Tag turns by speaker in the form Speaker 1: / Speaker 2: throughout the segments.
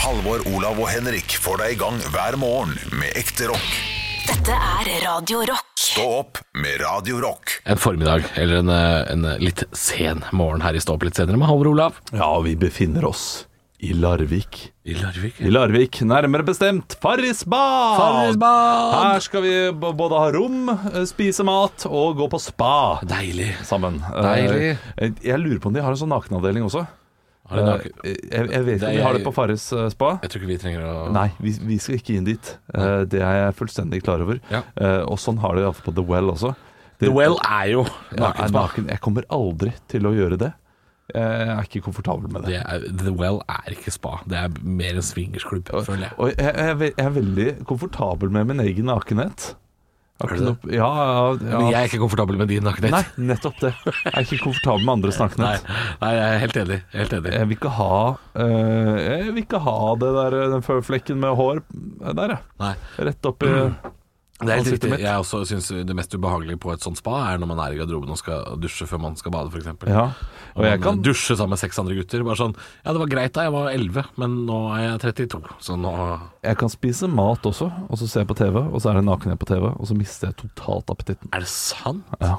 Speaker 1: Halvor, Olav og Henrik får deg i gang hver morgen med ekte rock.
Speaker 2: Dette er Radio Rock.
Speaker 1: Stå opp med Radio Rock.
Speaker 3: en formiddag eller en, eh, en litt sen morgen her i Stå opp litt senere med Halvor Olav.
Speaker 4: Ja, vi befinner oss i Larvik.
Speaker 3: I Larvik.
Speaker 4: I Larvik, nærmere bestemt Farrisbad!
Speaker 3: Farrisbad!
Speaker 4: Her skal vi b- både ha rom, eh, spise mat og gå på spa
Speaker 3: Deilig.
Speaker 4: sammen.
Speaker 3: Deilig.
Speaker 4: Eh, Jeg lurer på om de har en sånn nakenavdeling også.
Speaker 3: Har du
Speaker 4: Eh,
Speaker 3: naken-
Speaker 4: Jeg, jeg vet ikke om
Speaker 3: Det
Speaker 4: de har
Speaker 3: er-
Speaker 4: det på Farris eh, spa.
Speaker 3: Jeg tror ikke vi trenger å
Speaker 4: Nei, vi, vi skal ikke inn dit. Eh, Det er jeg fullstendig klar over.
Speaker 3: Ja.
Speaker 4: Eh, Og sånn har de iallfall på The Well også.
Speaker 3: The Well er jo
Speaker 4: Ja, er
Speaker 3: nakenspa.
Speaker 4: naken. Jeg kommer aldri til å gjøre det. Jeg er ikke komfortabel med det.
Speaker 3: Det er, the Well er ikke spa. Det er mer en swingersklubb, føler jeg.
Speaker 4: Og jeg, jeg, er ve- jeg er veldig komfortabel med min egen nakenhet. Jeg har
Speaker 3: Er
Speaker 4: ikke
Speaker 3: du
Speaker 4: noe- Ja, ja,
Speaker 3: Men
Speaker 4: ja.
Speaker 3: jeg er ikke komfortabel med din nakenhet.
Speaker 4: Nei, nettopp det. Jeg er ikke komfortabel med andres
Speaker 3: Nei,
Speaker 4: nakenhet.
Speaker 3: nei, jeg er helt enig. Helt enig.
Speaker 4: Jeg vil ikke ha øh, Jeg vil ikke ha det der, øh, den føflekken med hår der, jeg.
Speaker 3: Nei.
Speaker 4: Rett opp i
Speaker 3: Mm. Det er helt
Speaker 4: Ansiktet
Speaker 3: riktig.
Speaker 4: mitt.
Speaker 3: Jeg også syns det mest ubehagelige på et sånt spa er når man er i garderoben og skal dusje før man skal bade, f.eks.
Speaker 4: Ja. Og
Speaker 3: man
Speaker 4: jeg kan
Speaker 3: dusje sammen med seks andre gutter. Bare sånn Ja, det var greit da jeg var 11, men nå er jeg 32, så nå
Speaker 4: Jeg kan spise mat også, og så ser jeg på TV, og så er det nakenhet på TV, og så mister jeg totalt appetitten.
Speaker 3: Er det sant?
Speaker 4: Ja.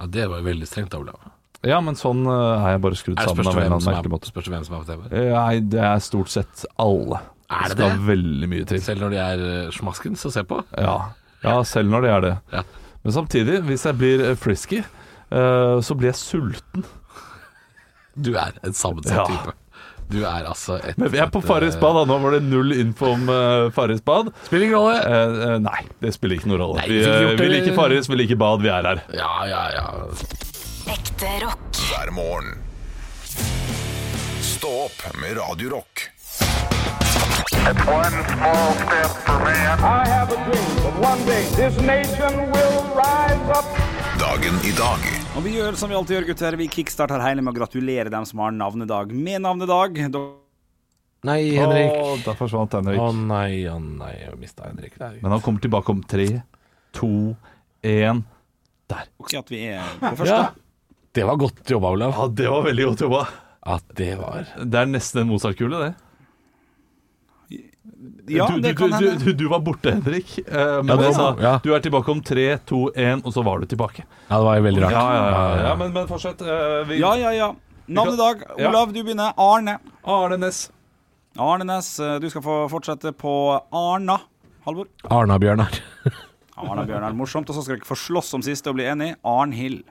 Speaker 3: Ja, Det var jo veldig strengt av Olav.
Speaker 4: ja, men sånn øh, er jeg bare skrudd
Speaker 3: Er det
Speaker 4: sammen
Speaker 3: spørs
Speaker 4: av en eller
Speaker 3: hvem,
Speaker 4: annen
Speaker 3: som
Speaker 4: merkelig
Speaker 3: er,
Speaker 4: måte.
Speaker 3: spørs hvem som er på TV?
Speaker 4: Eh, Nei, det er stort sett alle.
Speaker 3: Er det
Speaker 4: skal
Speaker 3: det?
Speaker 4: veldig mye til.
Speaker 3: Selv når de er eh, smaskens å se på?
Speaker 4: Ja, ja selv når det er det.
Speaker 3: Ja.
Speaker 4: Men samtidig, hvis jeg blir eh, frisky, eh, så blir jeg sulten.
Speaker 3: Du er en sammensatt
Speaker 4: Ja.
Speaker 3: type. Du er altså et
Speaker 4: Men vi er på
Speaker 3: et, eh,
Speaker 4: Farris bad, da. Nå var det null info om uh, Farris bad.
Speaker 3: Spiller ingen rolle.
Speaker 4: Eh, eh, nei, det spiller ikke noen rolle.
Speaker 3: Nei,
Speaker 4: vi,
Speaker 3: vi fikk
Speaker 4: eh,
Speaker 3: gjort
Speaker 4: vi
Speaker 3: det.
Speaker 4: liker Farris, vi liker bad, vi er her.
Speaker 3: Ja, ja, ja.
Speaker 2: Ekte rock.
Speaker 1: Hver morgen. Stå opp med Radio Rock.
Speaker 5: One small step for man.
Speaker 6: I have a dream that one day this nation will rise up.
Speaker 1: Dagen i dag.
Speaker 7: Og vi gjør som vi alltid gjør, gutter. Vi kickstarter hele med å gratulere dem som har navnedag med navnedag. Da
Speaker 3: Nei, Henrik.
Speaker 4: Å, der forsvant Henrik.
Speaker 3: Å nei, å nei, jeg mista Henrik. Nei.
Speaker 4: Men han kommer tilbake om tre, to, én
Speaker 7: kan vi si at vi er på første.
Speaker 4: ja.
Speaker 3: Det var godt jobba, Olav.
Speaker 4: ja, det var veldig godt jobba.
Speaker 3: At det var
Speaker 4: Det er nesten en Mozart-kule, det.
Speaker 7: Ja,
Speaker 4: du,
Speaker 7: det
Speaker 4: du, du,
Speaker 7: kan hende.
Speaker 4: du, du var borte, Henrik. Eh, men
Speaker 3: det
Speaker 4: jeg sa,
Speaker 3: var- ja.
Speaker 4: du er tilbake om tre, to, én, og så var du tilbake.
Speaker 3: Ja, det var veldig rart.
Speaker 4: Ja, ja, ja, ja men, men fortsett. eh, vi,
Speaker 7: Ja, ja, ja. Navnedag.
Speaker 4: Ja.
Speaker 7: Olav, du begynner. Arne.
Speaker 4: Arne Næss.
Speaker 7: Arne Næss, eh, du skal få fortsette på Arna. Halvor.
Speaker 3: Arna-Bjørnar.
Speaker 7: Arna Bjørnar, morsomt. Og så skal dere ikke få slåss om siste og bli enig. Arnhild.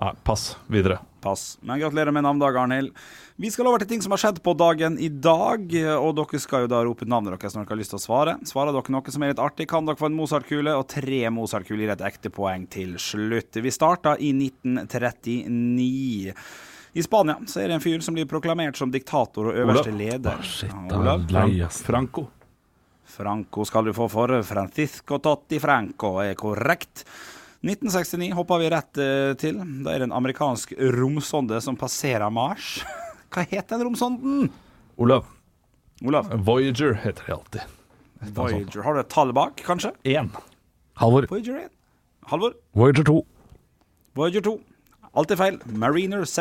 Speaker 4: Nei, pass. Videre.
Speaker 7: Pass. Men gratulerer med navnedag, Arnhild. Vi skal over til ting som har skjedd på dagen i dag, og dere skal jo da rope ut navnet deres når dere har lyst til å svare. Svarer dere noe som er litt artig, kan dere få en Mozart-kule, og tre Mozart-kuler gir et ekte poeng til slutt. Vi starta i 1939. I Spania så er det en fyr som blir proklamert som diktator og øverste leder. Ja, Olav.
Speaker 4: Franco.
Speaker 7: Franco skal du få for. Francisco Totti Franco er korrekt. 1969 hopper vi rett eh, til. Da er det en amerikansk romsonde som passerer Mars. Hva het den romsonden?
Speaker 4: Olav.
Speaker 7: Olav,
Speaker 4: Voyager heter de alltid.
Speaker 7: Voyager. Har du et tall bak, kanskje?
Speaker 4: Én.
Speaker 3: Halvor.
Speaker 7: Voyager 1. Halvor,
Speaker 3: Voyager 2.
Speaker 7: Voyager 2. Alt er feil. Mariner 7.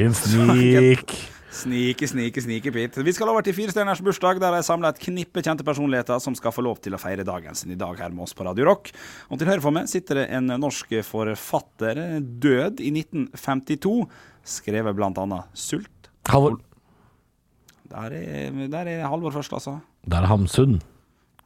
Speaker 3: Din snik.
Speaker 7: Snike, snike, snike, Pete. Vi skal over til firestjerners bursdag, der jeg samler et knippe kjente personligheter som skal få lov til å feire dagen sin i dag her med oss på Radio Rock. Og til høyre for meg sitter det en norsk forfatter, død i 1952, skrevet blant annet Sult.
Speaker 3: Halvor.
Speaker 7: Der er, der er Halvor først, altså.
Speaker 3: Der er Hamsun.
Speaker 7: Der er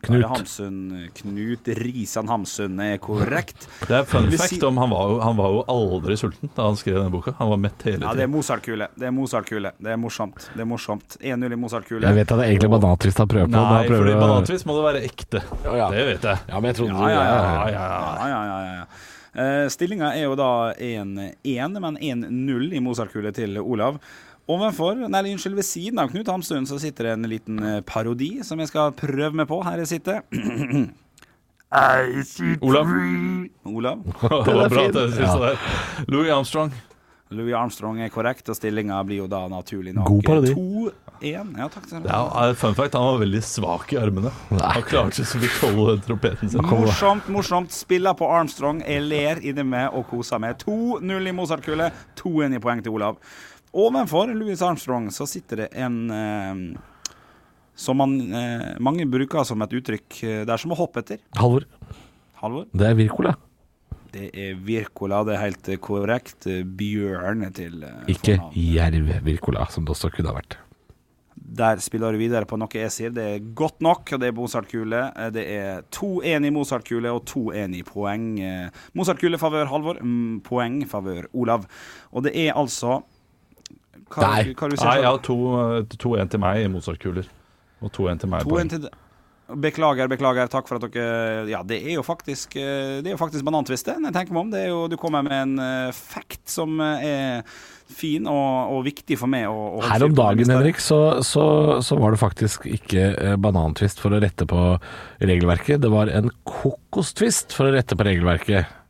Speaker 3: Knut.
Speaker 7: Hamsun. Knut Risan Hamsun er korrekt.
Speaker 4: Det er fun
Speaker 7: Vil
Speaker 4: fact
Speaker 7: si-
Speaker 4: om han var, jo, han var jo aldri sulten da han skrev denne boka. Han var mett hele
Speaker 7: Ja, det er
Speaker 4: tiden.
Speaker 7: Mozart-kule. Det er Mozart-kule. Det er morsomt. Det er morsomt. 1-0 i Mozart-kule.
Speaker 3: Jeg vet at det er egentlig banantvist han prøver på. da
Speaker 4: Nei,
Speaker 3: prøver
Speaker 4: fordi
Speaker 3: du-
Speaker 4: banantvist må det være ekte.
Speaker 3: Ja, ja.
Speaker 4: Det vet jeg.
Speaker 3: Ja, men jeg trodde
Speaker 7: Ja, ja,
Speaker 4: Ja,
Speaker 7: ja,
Speaker 4: ja, ja.
Speaker 7: Ja, ja, ja, ja. Eh, Stillinga er jo da 1-1, men 1-0 i Mozart-kule til Olav. Ovenfor, nei, unnskyld, Ved siden av Knut Hamsun så sitter det en liten eh, parodi som jeg skal prøve meg på her jeg sitter.
Speaker 4: Olav.
Speaker 7: Olav.
Speaker 4: Det var bra
Speaker 3: fin.
Speaker 4: at jeg synes det der. Louis Armstrong.
Speaker 7: Louis Armstrong er korrekt, og stillinga blir jo da naturlig nok
Speaker 3: God parodi.
Speaker 7: 2-1. Ja, takk.
Speaker 4: Ja, eh, fun fact, han var veldig svak i armene.
Speaker 3: Nei.
Speaker 4: Han klarte ikke så vidt å holde trompeten sin.
Speaker 7: Morsomt, morsomt. Spiller på Armstrong. Jeg ler inni meg og koser meg. 2-0 i Mozart-kule. 2-1 i poeng til Olav. Ovenfor Louis Armstrong så sitter det en eh, som man, eh, mange bruker som et uttrykk eh, Det er som å hoppe etter.
Speaker 3: Halvor,
Speaker 7: Halvor?
Speaker 3: det er Wirkola.
Speaker 7: Det er Wirkola, det er helt eh, korrekt. eh, Bjørn til eh,
Speaker 3: Ikke
Speaker 7: fornavn.
Speaker 3: Jerv Wirkola, som det også kunne ha vært.
Speaker 7: Der spiller du videre på noe jeg sier. Det er godt nok, og det er Mozart-kule. Eh, Det er 2-1 i Mozart-kule og 2-1 i poeng. Eh, Mozart-kule favør Halvor, mm, poeng favør Olav. Og det er altså hva,
Speaker 3: Nei.
Speaker 7: hva du sier
Speaker 4: Nei, jeg
Speaker 7: selv?
Speaker 4: har to, eh, to en til meg i Mozart-kuler. Og to en til meg. i
Speaker 7: 2-1
Speaker 4: poeng.
Speaker 7: til d- Beklager, beklager. Takk for at dere Ja, det er jo faktisk eh, Det er jo faktisk banantvist, det. når jeg tenker meg om. Det er jo, du kommer med en eh, fact som eh, er fin og, og viktig for meg. å- å holde
Speaker 3: Her
Speaker 7: styr
Speaker 3: om
Speaker 7: på
Speaker 3: dagen,
Speaker 7: hvis det er-
Speaker 3: Henrik, så, så, så var det faktisk ikke eh, banantvist for å rette på regelverket. Det var en kokostvist for å rette på regelverket.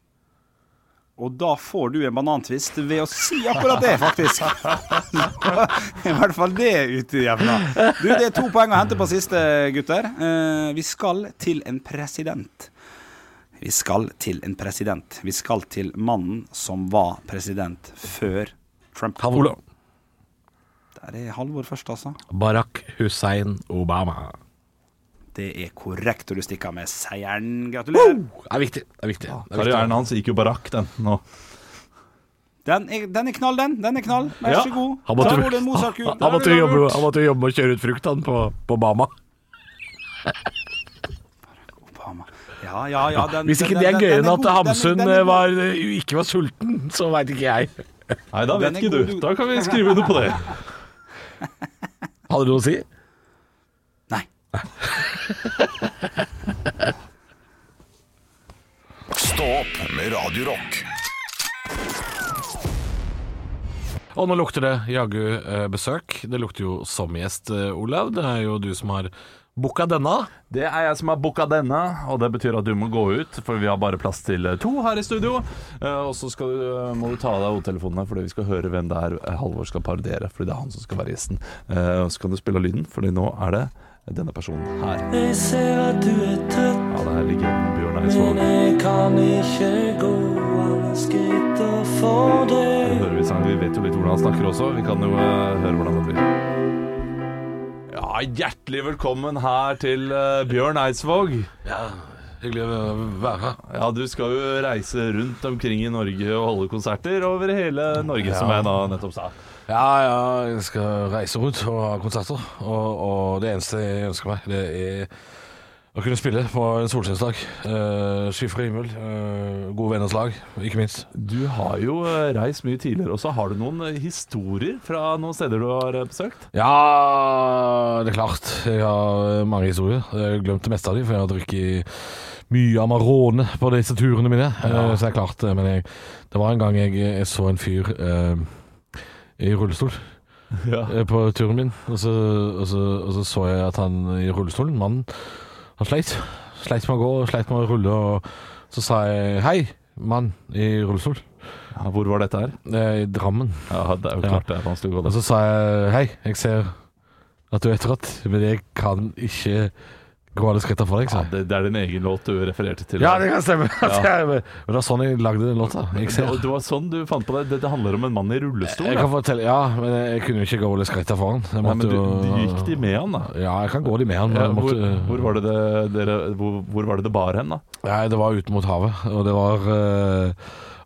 Speaker 7: Og da får du en banantvist ved å si akkurat det, faktisk. I hvert fall det ute i jævla. Du, det er to poeng å hente på siste, gutter. Eh, vi skal til en president. Vi skal til en president. Vi skal til mannen som var president før Trump.
Speaker 3: Halvor.
Speaker 7: Der er Halvor først, altså.
Speaker 3: Barack Hussein Obama.
Speaker 7: Det er korrekt, og du stikker av med seieren. Gratulerer.
Speaker 3: Det er viktig. Det er viktig. Det er
Speaker 4: Karrieren
Speaker 3: viktig.
Speaker 4: hans gikk jo barakk, den. Nå.
Speaker 7: Den er, den er knall, den. Den er knall. Vær så god.
Speaker 3: Han måtte,
Speaker 7: Der går det en Mozart-kul.
Speaker 3: han,
Speaker 7: Der
Speaker 3: måtte
Speaker 7: er
Speaker 3: jo
Speaker 7: det
Speaker 3: jobbe,
Speaker 7: lurt.
Speaker 3: han måtte jo jobbe og kjøre ut frukt han på, på Bama.
Speaker 7: Obama. Ja, ja, ja. Den,
Speaker 3: Hvis ikke
Speaker 7: den-
Speaker 3: det er
Speaker 7: den-
Speaker 3: gøyere
Speaker 7: den
Speaker 3: enn at
Speaker 7: god, den-
Speaker 3: Hamsun
Speaker 7: den er
Speaker 3: eh,
Speaker 7: god.
Speaker 3: var, eh, ikke var sulten, så veit ikke jeg.
Speaker 4: Nei, da
Speaker 7: Den
Speaker 4: vet
Speaker 7: er
Speaker 4: ikke
Speaker 7: god,
Speaker 4: du.
Speaker 7: du.
Speaker 4: Da kan vi skrive under på det.
Speaker 3: Hadde du noe å si?
Speaker 7: Nei.
Speaker 1: Stå opp med Radio Rock.
Speaker 3: Og nå lukter det jaggu eh, besøk. Det lukter jo som gjest, eh, Olav. Det er jo du som har booka denne.
Speaker 4: Det er jeg som har booka denne, og det betyr at du må gå ut, for vi har bare plass til to her i studio. Eh, Og så skal du, må du ta av deg hodetelefonene, fordi vi skal høre hvem det er eh, Halvor skal parodiere. Fordi det er han som skal være gjesten. Eh, Og så kan du spille av lyden, fordi nå er det denne personen her. Jeg ser at du er tøtt. Ja, det er legenden Bjørn Eidsvåg. Men jeg kan ikke gå alle skritt og få deg. Hører vi sangen, vi vet jo litt hvordan han snakker også. Vi kan jo eh, høre hvordan det blir. Ja, hjertelig velkommen her til eh, Bjørn Eidsvåg.
Speaker 3: Hyggelig å være her.
Speaker 4: Ja, du skal jo reise rundt omkring i Norge og holde konserter over hele Norge, som jeg da nettopp sa.
Speaker 3: Ja, ja, jeg skal reise rundt og ha konserter. Og, og det eneste jeg ønsker meg, det er å kunne spille på en solskinnsdag. Uh, Skyfri himmel, eh, gode venners lag, ikke minst.
Speaker 4: Du har jo eh, reist mye tidligere også. Har du noen eh, historier fra noen steder du har eh, besøkt?
Speaker 3: Ja, det er klart. Jeg har eh, mange historier. Jeg har glemt det meste av dem, for jeg har drukket mye Amarone på disse turene mine. Eh, Så det er klart. eh, Men jeg, det var en gang jeg, jeg så en fyr eh, i rullestol
Speaker 4: Ja.
Speaker 3: eh, på turen min. Og så, og, så, og så så jeg at han i rullestolen, mannen, han sleit. Sleit med å gå, sleit med å rulle. Og så sa jeg 'hei, mann i rullestol',
Speaker 4: Ja, Hvor var dette her?
Speaker 3: eh, i Drammen.
Speaker 4: Ja, Altså, det er jo
Speaker 3: Ja.
Speaker 4: klart det er vanskelig å gå
Speaker 3: Og
Speaker 4: der.
Speaker 3: så sa jeg Hei, jeg ser at du er trøtt, men jeg kan ikke gå alle skrittene for deg.
Speaker 4: Ja,
Speaker 3: sa jeg.
Speaker 4: det, det er din egen låt du refererte til.
Speaker 3: Ja, det kan stemme. Men det var sånn jeg lagde den låta. Jeg
Speaker 4: det,
Speaker 3: ser.
Speaker 4: det var sånn du fant på det. Dette handler om en mann i rullestol.
Speaker 3: Jeg
Speaker 4: da.
Speaker 3: kan fortelle, ja, men jeg kunne jo ikke gå alle skrittene foran. Jeg
Speaker 4: Nei,
Speaker 3: måtte
Speaker 4: men du,
Speaker 3: jo-
Speaker 4: du gikk de med han, da?
Speaker 3: Ja, jeg kan gå de med han. men
Speaker 4: Ja,
Speaker 3: jeg
Speaker 4: hvor,
Speaker 3: måtte-
Speaker 4: hvor, var det det, dere, hvor, hvor var det det bar hen, da?
Speaker 3: Nei, det var ute mot havet, og det var eh,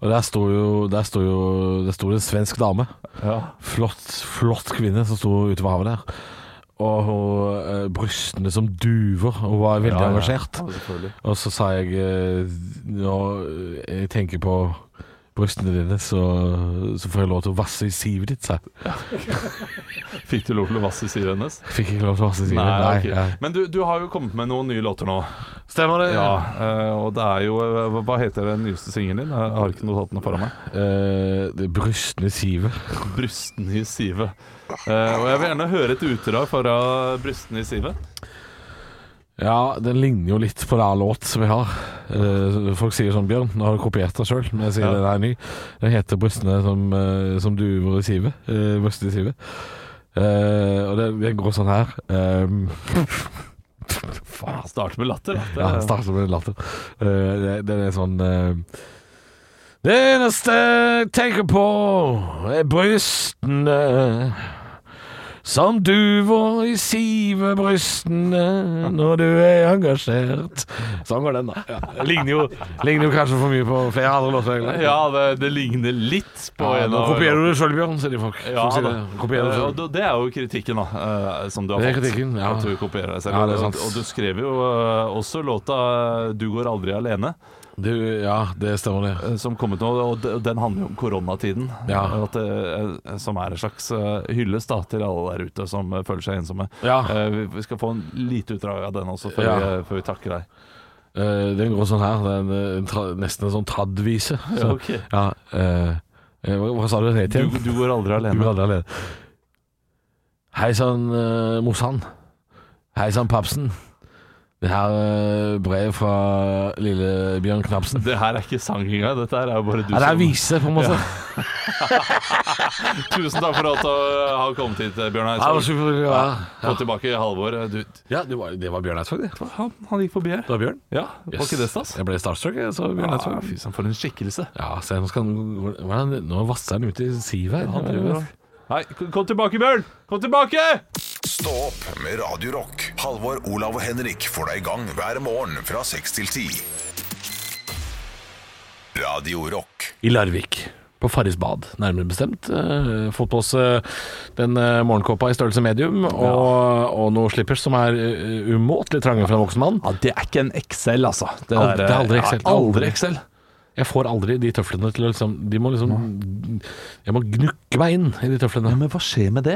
Speaker 3: Og der sto jo Der sto jo Der sto det en svensk dame.
Speaker 4: Ja.
Speaker 3: Flott, flott kvinne som sto ute ved havet der. Og hun, eh, brystene som duver. Hun var veldig engasjert.
Speaker 4: Ja, selvfølgelig.
Speaker 3: Og så sa jeg eh, Når jeg tenker på brystene dine, så, så får jeg lov til å vasse i sivet ditt, sa jeg.
Speaker 4: Fikk du lov til å vasse i sivet hennes?
Speaker 3: Jeg Fikk ikke lov til å vasse i sivet.
Speaker 4: ok. Men du, du har jo kommet med noen nye låter nå.
Speaker 3: Stemmer det?
Speaker 4: Ja, eh, og det er jo eh, Hva hva heter den nyeste singelen din? Jeg har ikke notatene foran meg.
Speaker 3: Eh, det- brystene i sivet.
Speaker 4: 'Brystene i sivet'. Eh, og jeg vil gjerne høre et utdrag fra 'Brystene i sivet'.
Speaker 3: Ja, den ligner jo litt på det her låt som jeg har. Eh, folk sier sånn, Bjørn, nå har du kopiert deg sjøl, men jeg sier
Speaker 4: Ja.
Speaker 3: den er ny. Den heter 'Brystene som, eh, som duver i sivet'. Eh, brystene i sivet. Eh, og det, det går sånn her. Um, Faen.
Speaker 4: Start med latter, da. Det-
Speaker 3: Ja, det starter med latter. Eh, det, det er sånn eh, Det eneste jeg tenker på, er brystene. Som duver i sivebrystene når du er engasjert. Sånn går den, da. Ja. det Ligner, jo, ligner jo kanskje for mye på flere andre låter. egentlig.
Speaker 4: Ja, det, det ligner litt på
Speaker 3: Ja,
Speaker 4: en
Speaker 3: nå
Speaker 4: av
Speaker 3: kopierer du det sjøl, Bjørn, sier de folk.
Speaker 4: Ja,
Speaker 3: som sier
Speaker 4: da.
Speaker 3: det. Kopierer du
Speaker 4: Eh,
Speaker 3: selv.
Speaker 4: og det- det er jo kritikken da, eh, som du har
Speaker 3: Det er
Speaker 4: fått.
Speaker 3: kritikken, ja.
Speaker 4: At du kopierer deg selv.
Speaker 3: Ja, det er
Speaker 4: Og-
Speaker 3: sant.
Speaker 4: Og du skrev jo eh, også låta eh, 'Du går aldri alene',
Speaker 3: Du, ja, det stemmer, det.
Speaker 4: eh, som kom ut nå, og de- den handler jo om koronatiden.
Speaker 3: Ja.
Speaker 4: At, eh, som er en slags eh, hyllest da, til alle der ute som eh, føler seg ensomme.
Speaker 3: Ja.
Speaker 4: Eh, vi- Vi skal få en lite utdrag av den også, før,
Speaker 3: Ja.
Speaker 4: vi, eh, før vi takker deg.
Speaker 3: Eh, den går sånn her. Det er en, eh, en tra, nesten en sånn trad-vise. Så-
Speaker 4: ok.
Speaker 3: ja, eh, eh, hva, hva sa du det het
Speaker 4: Du,
Speaker 3: igjen?
Speaker 4: du går aldri
Speaker 3: Du blir
Speaker 4: alene.
Speaker 3: aldri alene. Hei sann, eh, Mosan. Hei sann, Papsen. Det her er brev fra lille Bjørn Knapsen.
Speaker 4: Det her er ikke sang engang. Dette her er jo bare du
Speaker 3: Ja, det er
Speaker 4: som
Speaker 3: vise, på en måte.
Speaker 4: Tusen takk for at du har kommet hit, eh, Bjørn
Speaker 3: Ja, det var
Speaker 4: Eidsvåg.
Speaker 3: super, ja.
Speaker 4: Få tilbake Halvor. eh, Du,
Speaker 3: ja det, var, det var Bjørn Eidsvåg, det. Det
Speaker 4: han, han gikk forbi her.
Speaker 3: var Bjørn.
Speaker 4: Ja, var
Speaker 3: Yes.
Speaker 4: ikke det stas?
Speaker 3: Jeg ble starstruck, jeg, så Bjørn
Speaker 4: Ja,
Speaker 3: Eidsvåg.
Speaker 4: fy søren, for en skikkelse.
Speaker 3: Ja, se, nå, skal han, hvordan- nå vasser han ut i sivet her.
Speaker 4: Nei, k- kom tilbake, Bjørn! Kom tilbake!
Speaker 1: Stå opp med Radio Rock. Halvor, Olav og Henrik får deg i gang hver morgen fra 6 til 10. Radio Rock.
Speaker 3: i Larvik. På Farris bad, nærmere bestemt. Eh, Fått på oss eh, den eh, morgenkåpa i størrelse medium, og, og noe slippers som er eh, umåtelig trange for en voksen mann.
Speaker 4: Ja, Det er ikke en XL, altså. Det,
Speaker 3: Aldri- det er aldri
Speaker 4: ja,
Speaker 3: XL.
Speaker 4: Aldri
Speaker 3: Aldri.
Speaker 4: XL.
Speaker 3: Jeg får aldri de tøflene til å liksom De må liksom Jeg må gnukke meg inn i de tøflene.
Speaker 4: Men hva skjer med det?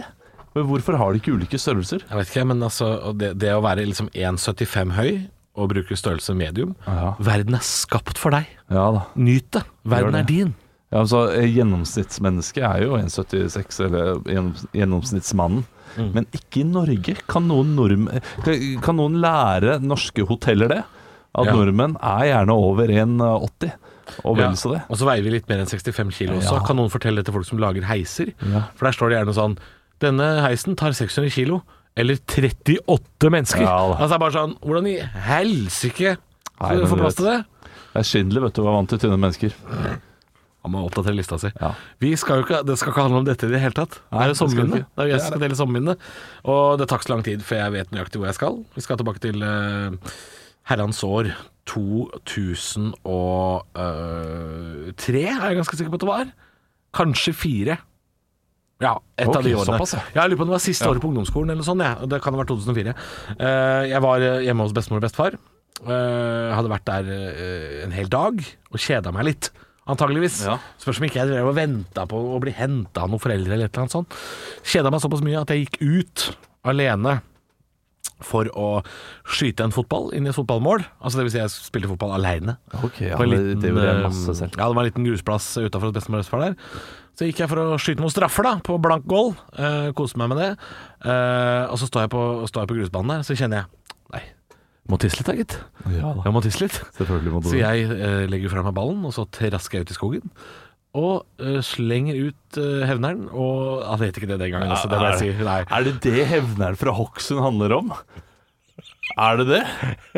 Speaker 4: Men Hvorfor har de ikke ulike størrelser?
Speaker 3: Jeg vet ikke, men altså og Det, det å være liksom 1,75 høy og bruke størrelse medium
Speaker 4: Ja.
Speaker 3: Verden er skapt for deg.
Speaker 4: Ja da.
Speaker 3: Nyt det. Verden
Speaker 4: Gjør det.
Speaker 3: er din.
Speaker 4: Ja, altså, eh, Gjennomsnittsmennesket er jo 1,76, eller gjennoms- gjennomsnittsmannen.
Speaker 3: Mm.
Speaker 4: Men ikke i Norge. Kan noen, nordm kan- kan noen lære norske hoteller det? At
Speaker 3: Ja.
Speaker 4: nordmenn er gjerne over 1,80, og vel så det.
Speaker 3: Og så veier vi litt mer enn 65 kilo også.
Speaker 4: Ja.
Speaker 3: Kan noen fortelle det til folk som lager heiser?
Speaker 4: Ja.
Speaker 3: For der står det gjerne sånn Denne heisen tar 600 kilo, eller 38 mennesker.
Speaker 4: Ja da.
Speaker 3: altså det er bare sånn Hvordan i helsike
Speaker 4: Nei,
Speaker 3: skal du
Speaker 4: men
Speaker 3: få
Speaker 4: du
Speaker 3: plass
Speaker 4: vet.
Speaker 3: til det?
Speaker 4: Det er Schindler, vet du, var vant til tynne mennesker.
Speaker 3: Han må oppdatere lista si.
Speaker 4: Ja.
Speaker 3: Vi skal jo ikke, det skal ikke handle om dette i det hele tatt. det
Speaker 4: Nei,
Speaker 3: er
Speaker 4: det skal
Speaker 3: sommerminne.
Speaker 4: ikke.
Speaker 3: Det er jo jeg som skal dele sommerminne. Og det tar ikke så lang tid, for jeg vet nøyaktig hvor jeg skal. Vi skal tilbake til eh, herrens år 2003, eh, er jeg ganske sikker på at det var. Kanskje fire. Ja, et
Speaker 4: Ok,
Speaker 3: av de årene.
Speaker 4: såpass, ja.
Speaker 3: Ja, jeg lurer på om det var siste året på ungdomsskolen eller sånn, ja. det kan ha vært 2004. Eh, jeg var eh, hjemme hos bestemor og bestefar. Eh, hadde vært der eh, en hel dag og kjeda meg litt, antageligvis.
Speaker 4: Ja.
Speaker 3: Spørs om ikke jeg drev og venta på å bli henta av noen foreldre eller et eller annet sånt. Kjeda meg såpass mye at jeg gikk ut alene for å skyte en fotball inn i et fotballmål. Altså det vil si jeg spilte fotball aleine.
Speaker 4: Ok, ja,
Speaker 3: På en
Speaker 4: det-
Speaker 3: liten,
Speaker 4: det gjorde jeg
Speaker 3: eh,
Speaker 4: masse selv.
Speaker 3: Ja, det var en liten grusplass utafor hos bestemor og bestefar der. Så gikk jeg for å skyte noen straffer, da, på blank goal. Eh, koste meg med det. Eh, og så står jeg, på, står jeg på grusbanen der, så kjenner jeg Nei, må tisse litt da, gitt.
Speaker 4: Ja da.
Speaker 3: Jeg må tisse litt.
Speaker 4: Selvfølgelig må du
Speaker 3: Så jeg eh, legger fra meg ballen, og så trasker jeg ut i skogen. Og eh, slenger ut eh, hevneren, og Han het ikke det den gangen, altså, det må jeg si. Nei.
Speaker 4: Er det det hevneren fra Hokksund handler om? Er det det?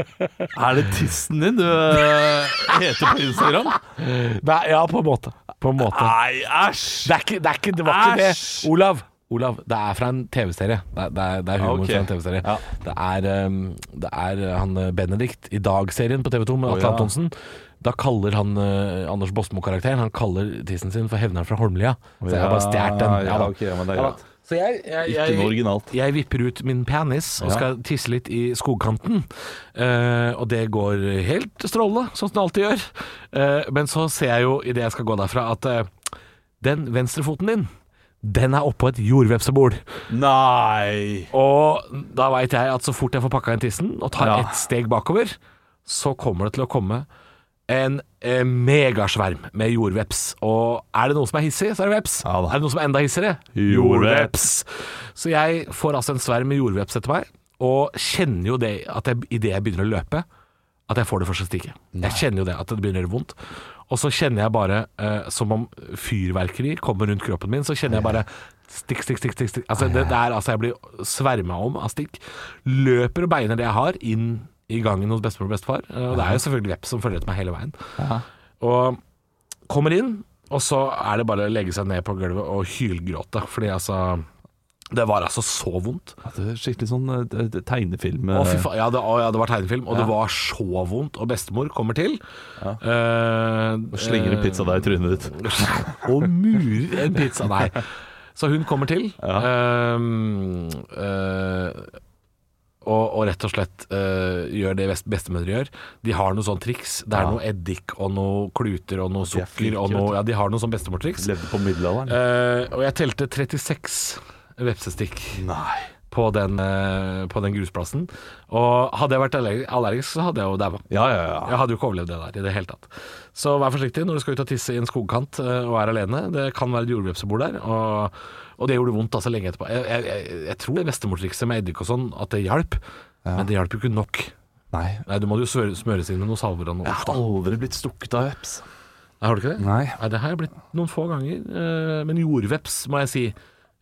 Speaker 4: Er det tissen din du eh, heter på Instagram?
Speaker 3: Nei, ja, på en måte. På en måte.
Speaker 4: Nei, æsj!
Speaker 3: Det, er ikke, det, er ikke, det var ikke
Speaker 4: Æsj!
Speaker 3: det. Olav, Olav, det er fra en TV-serie. Det, er- det, er- det er humor
Speaker 4: Ok.
Speaker 3: fra en TV-serie.
Speaker 4: Ja.
Speaker 3: Det er, um, det er uh, han uh, Benedikt i Dag-serien på TV2 med
Speaker 4: Å,
Speaker 3: Atle
Speaker 4: ja.
Speaker 3: Antonsen. Da kaller han uh, Anders Bosmo-karakteren Han kaller tissen sin for hevneren fra Holmlia. Så jeg har bare stjålet den.
Speaker 4: Ja,
Speaker 3: Ja da.
Speaker 4: ok, ja, men det er
Speaker 3: Ja da.
Speaker 4: greit.
Speaker 3: Så jeg, jeg,
Speaker 4: Ikke
Speaker 3: jeg,
Speaker 4: noe originalt.
Speaker 3: Jeg vipper ut min penis og
Speaker 4: Ja.
Speaker 3: skal tisse litt i skogkanten. Eh, og det går helt strålende, sånn som det alltid gjør. Eh, men så ser jeg jo idet jeg skal gå derfra, at eh, den venstrefoten din, den er oppå et jordvepsebol.
Speaker 4: Nei!
Speaker 3: Og da veit jeg at så fort jeg får pakka inn tissen og tar
Speaker 4: Ja.
Speaker 3: ett steg bakover, så kommer det til å komme en eh, megasverm med jordveps. Og er det noe som er hissig, så er det veps.
Speaker 4: Ja da.
Speaker 3: er det noe som er enda hissigere?
Speaker 4: Jordveps.
Speaker 3: Så jeg får altså en sverm med jordveps etter meg, og kjenner jo det at jeg, idet jeg begynner å løpe, at jeg får det første stikket. Jeg kjenner jo det, at det begynner å gjøre vondt. Og så kjenner jeg bare, eh, som om fyrverkeri kommer rundt kroppen min, så kjenner jeg bare stikk, stikk, stikk. stikk, stikk. Altså, det, det er altså, jeg blir sverma om av stikk. Løper og beiner det jeg har, inn i gangen hos bestemor og bestefar. Eh, Og det er jo selvfølgelig veps som følger etter meg hele veien. Og kommer inn, og så er det bare å legge seg ned på gulvet og hylgråte. Fordi altså Det var altså så vondt.
Speaker 4: Ja, det er skikkelig sånn eh, d- tegnefilm. eh,
Speaker 3: Å, fy faen. Ja, det, å, ja, det var tegnefilm, og det var så vondt. Og bestemor kommer til. Eh,
Speaker 4: Slenger en
Speaker 3: eh,
Speaker 4: pizza deg i trynet ditt.
Speaker 3: og murer en pizza. Nei. Så hun kommer til. ehm, eh, og, og rett og slett eh, gjør det best, bestemødre gjør. De har noe sånn triks. Det er noe eddik og noe kluter og noe
Speaker 4: De er
Speaker 3: sukker
Speaker 4: flinke,
Speaker 3: og
Speaker 4: vet
Speaker 3: noe
Speaker 4: du.
Speaker 3: Ja, de har noe sånn bestemortriks.
Speaker 4: Levde på middelalderen.
Speaker 3: Eh, og jeg telte 36 vepsestikk
Speaker 4: Nei.
Speaker 3: på den, eh, på den grusplassen. Og hadde jeg vært aller- allergisk, så hadde jeg jo daua.
Speaker 4: Ja, ja, ja.
Speaker 3: Jeg hadde jo ikke overlevd det der i det hele tatt. Så vær forsiktig når du skal ut og tisse i en skogkant eh, og er alene. Det kan være et jordvepsebol der, og, og det gjorde vondt altså lenge etterpå. Jeg, jeg, jeg, jeg tror det bestemortrikset med eddik og sånn, at det hjalp, men det hjalp jo ikke nok.
Speaker 4: Nei.
Speaker 3: Nei, Du må jo smøre, smøres inn med noe salver og noe
Speaker 4: Jeg
Speaker 3: ost.
Speaker 4: har
Speaker 3: da.
Speaker 4: aldri blitt stukket av veps.
Speaker 3: Nei, Har du ikke det?
Speaker 4: Nei.
Speaker 3: det har jeg blitt noen få ganger. eh, Men jordveps, må jeg si.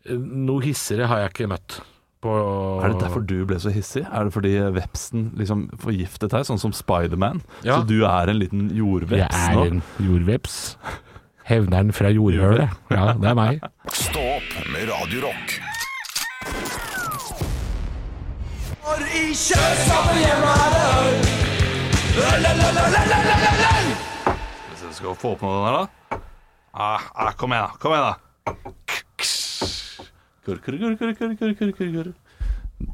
Speaker 3: eh, Noe hissere har jeg ikke møtt. På
Speaker 4: Er det derfor du ble så hissig? Er det fordi vepsen liksom forgiftet deg, sånn som Spiderman?
Speaker 3: Ja.
Speaker 4: Så du er en liten jordveps nå?
Speaker 3: jordveps. Hevneren fra jordhølet. Ja, det er meg.
Speaker 1: Stå opp med Radio Rock.
Speaker 4: Hvis jeg skal få på meg den her, da. Ah, ah, kom igjen, da. Kom igjen, da. Kurr, kurr, kurr, kurr, kurr, kurr, kurr, kurr, kurr.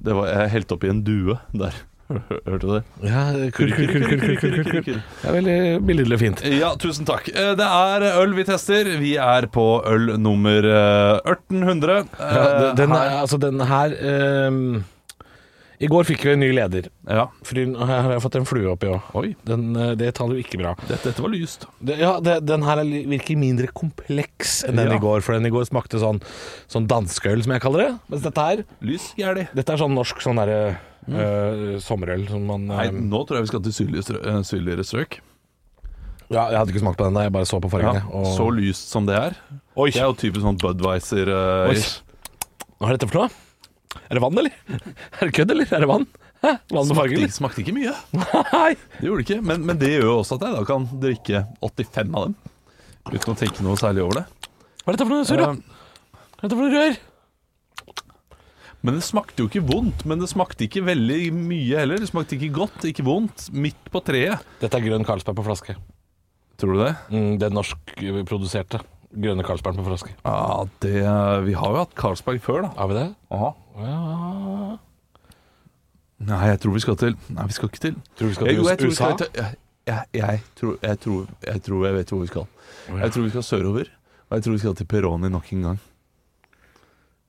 Speaker 4: Det var Jeg helte oppi en due der. Hørte du det?
Speaker 3: Ja, kur, kur, kur, kur, kur, kur, kur, kur. Det er veldig billedlig og fint.
Speaker 4: Ja, tusen takk. Eh, Det er øl vi tester. Vi er på øl nummer eh, 1800. Eh,
Speaker 3: Ja, den- den,
Speaker 4: her-
Speaker 3: er, altså, den her ehm, I går fikk vi en ny leder.
Speaker 4: ja.
Speaker 3: Fordi nå har jeg fått en flue oppi òg. Den, eh, Det taler jo ikke bra.
Speaker 4: Dette, dette var lyst.
Speaker 3: Det, ja, det, Den her er li- virker mindre kompleks enn den
Speaker 4: Ja.
Speaker 3: i går. For den i går smakte sånn, sånn danskøl, som jeg kaller det. Mens dette her
Speaker 4: Lys gæli.
Speaker 3: Dette er sånn norsk sånn derre eh, sommerøl som man
Speaker 4: Mm. Nei,
Speaker 3: eh,
Speaker 4: nå tror jeg vi skal til sydligere strø- eh, sydligere strøk.
Speaker 3: ja, Jeg hadde ikke smakt på den da, jeg bare så på
Speaker 4: Ja,
Speaker 3: fargene. og-
Speaker 4: Så lyst som det er.
Speaker 3: Oi,
Speaker 4: Det er jo typisk sånn Budwiser eh,
Speaker 3: Oi.
Speaker 4: ish.
Speaker 3: hva er dette for noe? Er det vann, eller? Er det kødd, eller? Er det vann? Hæ? Vann med farge,
Speaker 4: Smakte,
Speaker 3: eller?
Speaker 4: ikke- smakte ikke mye.
Speaker 3: Nei.
Speaker 4: Det gjorde det ikke. Men, men det gjør jo også at jeg da kan drikke 85 av dem. Uten å tenke noe særlig over det.
Speaker 3: Hva er dette for noe surr, da?
Speaker 4: Eh,
Speaker 3: Hva er dette for noe rør?
Speaker 4: Men det smakte jo ikke vondt. Men det smakte ikke veldig mye heller. Det smakte ikke godt, ikke vondt. Midt på treet.
Speaker 3: Dette er grønn Carlsberg på flaske.
Speaker 4: Tror du det?
Speaker 3: Mm, den norskproduserte grønne Carlsbergen på flaske.
Speaker 4: Ja, det Vi har jo hatt Carlsberg før, da.
Speaker 3: Har vi det?
Speaker 4: Nei, jeg tror vi skal til Nei, vi skal ikke til
Speaker 3: Tror du vi skal til
Speaker 4: Jeg- jo, jeg tror vi
Speaker 3: USA?
Speaker 4: skal til- Jeg, jeg, jeg, tror, jeg, tror, jeg tror jeg vet hvor vi skal. Jeg tror vi skal sørover. Og jeg tror vi skal til Peroni nok en gang.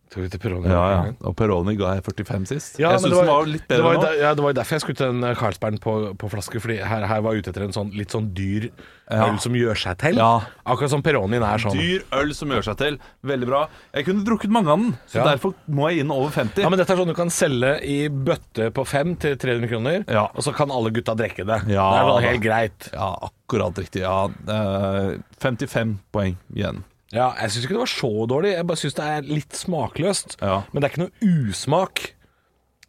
Speaker 3: Tror vi til Peroni?
Speaker 4: Ja, ja. Og Peroni ga jeg 45 sist.
Speaker 3: Ja,
Speaker 4: jeg
Speaker 3: men det
Speaker 4: syns
Speaker 3: var-
Speaker 4: den var litt
Speaker 3: Det
Speaker 4: bedre
Speaker 3: var, jo
Speaker 4: nå.
Speaker 3: der, ja, det var jo derfor jeg skulle til den eh, Carlsbergen på, på flaske, fordi her, her var jeg ute etter en sånn litt sånn dyr
Speaker 4: Ja.
Speaker 3: øl som gjør seg til.
Speaker 4: Ja.
Speaker 3: Akkurat som Peronien er sånn.
Speaker 4: Dyr øl som gjør seg til. Veldig bra. Jeg kunne drukket mange av den, så
Speaker 3: Ja.
Speaker 4: derfor må jeg inn over 50.
Speaker 3: Ja, men Dette er sånn du kan selge i bøtte på fem til 300 kroner,
Speaker 4: Ja.
Speaker 3: og så kan alle gutta drikke det.
Speaker 4: Ja,
Speaker 3: det er vel
Speaker 4: da.
Speaker 3: helt greit.
Speaker 4: Ja, akkurat riktig. Ja, eh, 55 poeng igjen.
Speaker 3: Ja, Jeg syns ikke det var så dårlig, jeg bare syns det er litt smakløst.
Speaker 4: Ja.
Speaker 3: Men det er ikke noe usmak.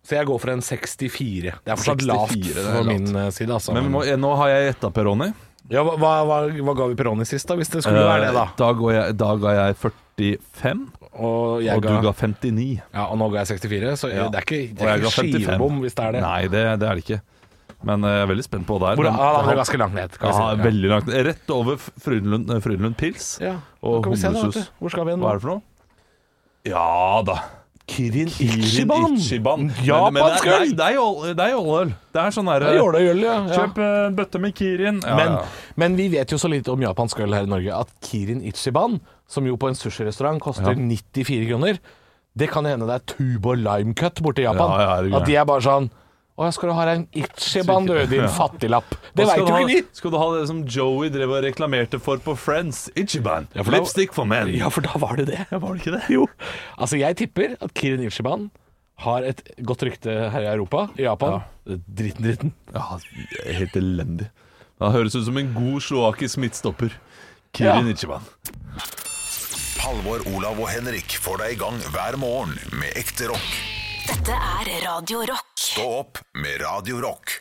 Speaker 3: Så jeg går for en 64. Det er fortsatt
Speaker 4: 64,
Speaker 3: lavt
Speaker 4: det er
Speaker 3: på
Speaker 4: lavt.
Speaker 3: min eh, side, altså.
Speaker 4: Men vi må, nå har jeg gjetta Peroni.
Speaker 3: ja, hva, hva, hva- hva ga vi Peroni sist, da? Hvis det skulle være det,
Speaker 4: Eh,
Speaker 3: da.
Speaker 4: Da, går jeg, da ga jeg 45,
Speaker 3: Og, jeg
Speaker 4: og
Speaker 3: ga,
Speaker 4: du ga 59.
Speaker 3: Ja, og nå ga jeg 64, så
Speaker 4: Ja.
Speaker 3: det er ikke, det er
Speaker 4: Og
Speaker 3: ikke
Speaker 4: jeg ga 55.
Speaker 3: skivebom hvis det er det.
Speaker 4: Nei, det, det er det ikke. Men eh, jeg er veldig spent på hva det er.
Speaker 3: Hvor,
Speaker 4: Men
Speaker 3: ja, da, det
Speaker 4: det
Speaker 3: er
Speaker 4: har-
Speaker 3: ganske langt ned. Kan vi
Speaker 4: ja,
Speaker 3: si.
Speaker 4: veldig langt ned. Rett over F- Frydenlund, eh, Frydenlund Pils
Speaker 3: ja.
Speaker 4: og
Speaker 3: Kan vi se da, vet du.
Speaker 4: humlesus.
Speaker 3: Hvor skal vi hen
Speaker 4: Hva
Speaker 3: nå?
Speaker 4: er det for noe? Ja da.
Speaker 3: Kirin
Speaker 4: Kirin Ichiban. Men- men det
Speaker 3: Japansk
Speaker 4: er-
Speaker 3: øl!
Speaker 4: nei, Det er jål- det er jåløl. Det er sånn
Speaker 3: Det er
Speaker 4: derre
Speaker 3: jåleøl, ja. ja.
Speaker 4: Kjøp eh, en bøtte med Kirin. Ja,
Speaker 3: Men,
Speaker 4: ja.
Speaker 3: men vi vet jo så lite om japansk øl her i Norge at Kirin Ichiban, som jo på en sushirestaurant koster 94 kroner Det kan hende det er tubo lime cut borte i Japan.
Speaker 4: Ja, ja, er det
Speaker 3: at de er bare sånn Å, jeg skal du ha deg en Ichiban, du, din fattiglapp. Det veit
Speaker 4: Hva skal
Speaker 3: jo
Speaker 4: du
Speaker 3: ikke
Speaker 4: ha-
Speaker 3: vi.
Speaker 4: Skal du ha det som Joey drev og reklamerte for på Friends? Ichiban.
Speaker 3: for da-
Speaker 4: Lipstick for men.
Speaker 3: Ja, for da var det det.
Speaker 4: Ja, var det ikke det?
Speaker 3: Jo. Altså, jeg tipper at Kirin Ichiban har et godt rykte her i Europa, i Japan. Dritten, dritten.
Speaker 4: Ja, helt elendig. Det høres ut som en god slovakisk midtstopper. Kirin
Speaker 3: Ja.
Speaker 4: Ichiban.
Speaker 1: Halvor, Olav og Henrik får deg i gang hver morgen med ekte rock.
Speaker 2: Dette er Radio Rock.
Speaker 1: Stå opp med Radio Rock.